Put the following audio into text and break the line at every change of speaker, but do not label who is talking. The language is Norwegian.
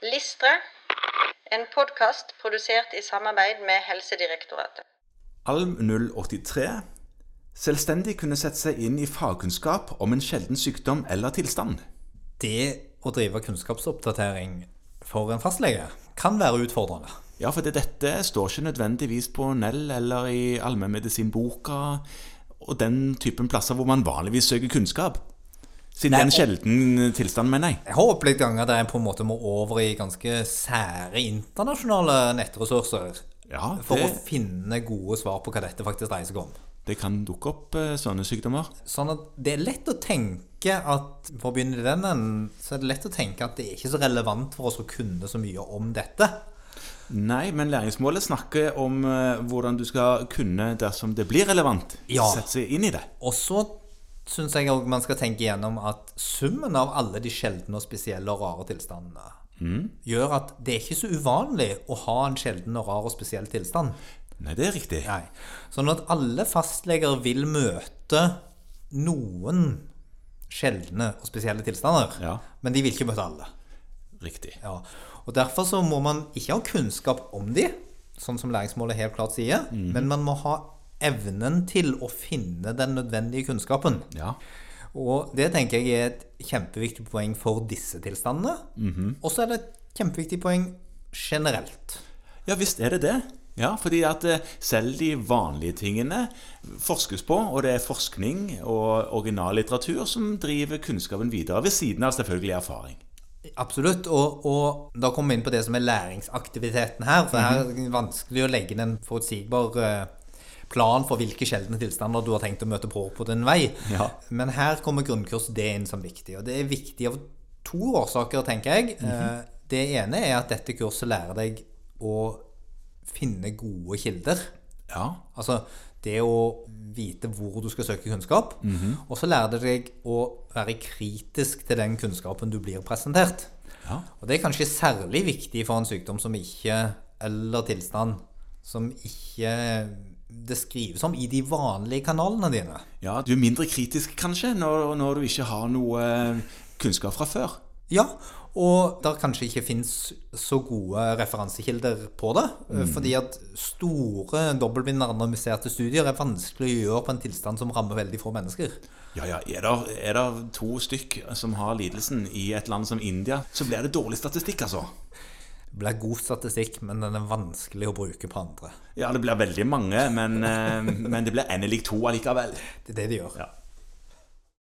Listre, en podkast produsert i samarbeid med Helsedirektoratet.
Alm 083 selvstendig kunne sette seg inn i fagkunnskap om en sjelden sykdom eller tilstand.
Det å drive kunnskapsoppdatering for en fastlege kan være utfordrende.
Ja, for det, dette står ikke nødvendigvis på Nell eller i allmennmedisinboka og den typen plasser hvor man vanligvis søker kunnskap. Siden
Nei,
det er en
og-
sjelden eh, tilstand, mener jeg.
Jeg har opplevd ganger der en på en måte må over i ganske sære internasjonale nettressurser
Ja,
for å
det,
finne gode svar på hva dette faktisk dreier seg om.
det kan dukke opp eh, sånne sykdommer.
Sånn at det er lett å tenke at For å begynne i den enden, så er det lett å tenke at det er ikke så relevant for oss å kunne så mye om dette.
Nei, men læringsmålet snakker om eh, hvordan du skal kunne, dersom det blir relevant,
Ja.
sette seg inn i det.
Og så syns jeg òg man skal tenke igjennom at summen av alle de sjeldne og spesielle og rare tilstandene gjør at det er ikke så uvanlig å ha en sjelden og rar og spesiell tilstand.
Nei, det er riktig.
Nei. Sånn at alle fastleger vil møte noen sjeldne og spesielle tilstander,
Ja.
men de vil ikke møte alle.
Riktig.
Ja, og Derfor så må man ikke ha kunnskap om de, sånn som læringsmålet helt klart sier, men man må ha evnen til å finne den nødvendige kunnskapen.
Ja.
Og det tenker jeg er et kjempeviktig poeng for disse tilstandene. Og så er det et kjempeviktig poeng generelt.
Ja visst er det det. Ja, fordi at eh, selv de vanlige tingene forskes på, og det er forskning og originallitteratur som driver kunnskapen videre, ved siden av selvfølgelig erfaring.
Absolutt. Og, og da kommer vi inn på det som er læringsaktiviteten her. For her er det vanskelig å legge inn en forutsigbar eh, plan for hvilke sjeldne tilstander du har tenkt å møte på på din vei.
Ja.
Men her kommer grunnkurs D inn som viktig. Og det er viktig av to årsaker, tenker jeg. Eh, Det ene er at dette kurset lærer deg å finne gode kilder.
Ja,
Altså det å vite hvor du skal søke kunnskap. Og så lærer det deg å være kritisk til den kunnskapen du blir presentert.
Ja.
Og det er kanskje særlig viktig for en sykdom som ikke Eller tilstand som ikke det skrives om i de vanlige kanalene dine.
ja du er mindre kritisk kanskje når, når du ikke har noe eh, kunnskap fra før.
Ja, og der kanskje ikke fins så gode referansekilder på det. Fordi at store dobbeltbindende randomiserte studier er vanskelig å gjøre på en tilstand som rammer veldig få mennesker.
Ja, ja, er det, er det to stykk som har lidelsen i et land som India, så blir det dårlig statistikk, altså.
Det blir god statistikk, men den er vanskelig å bruke på andre.
Ja, det blir veldig mange, men, eh, men det blir N lik to allikevel.
Det er det de gjør.
Ja.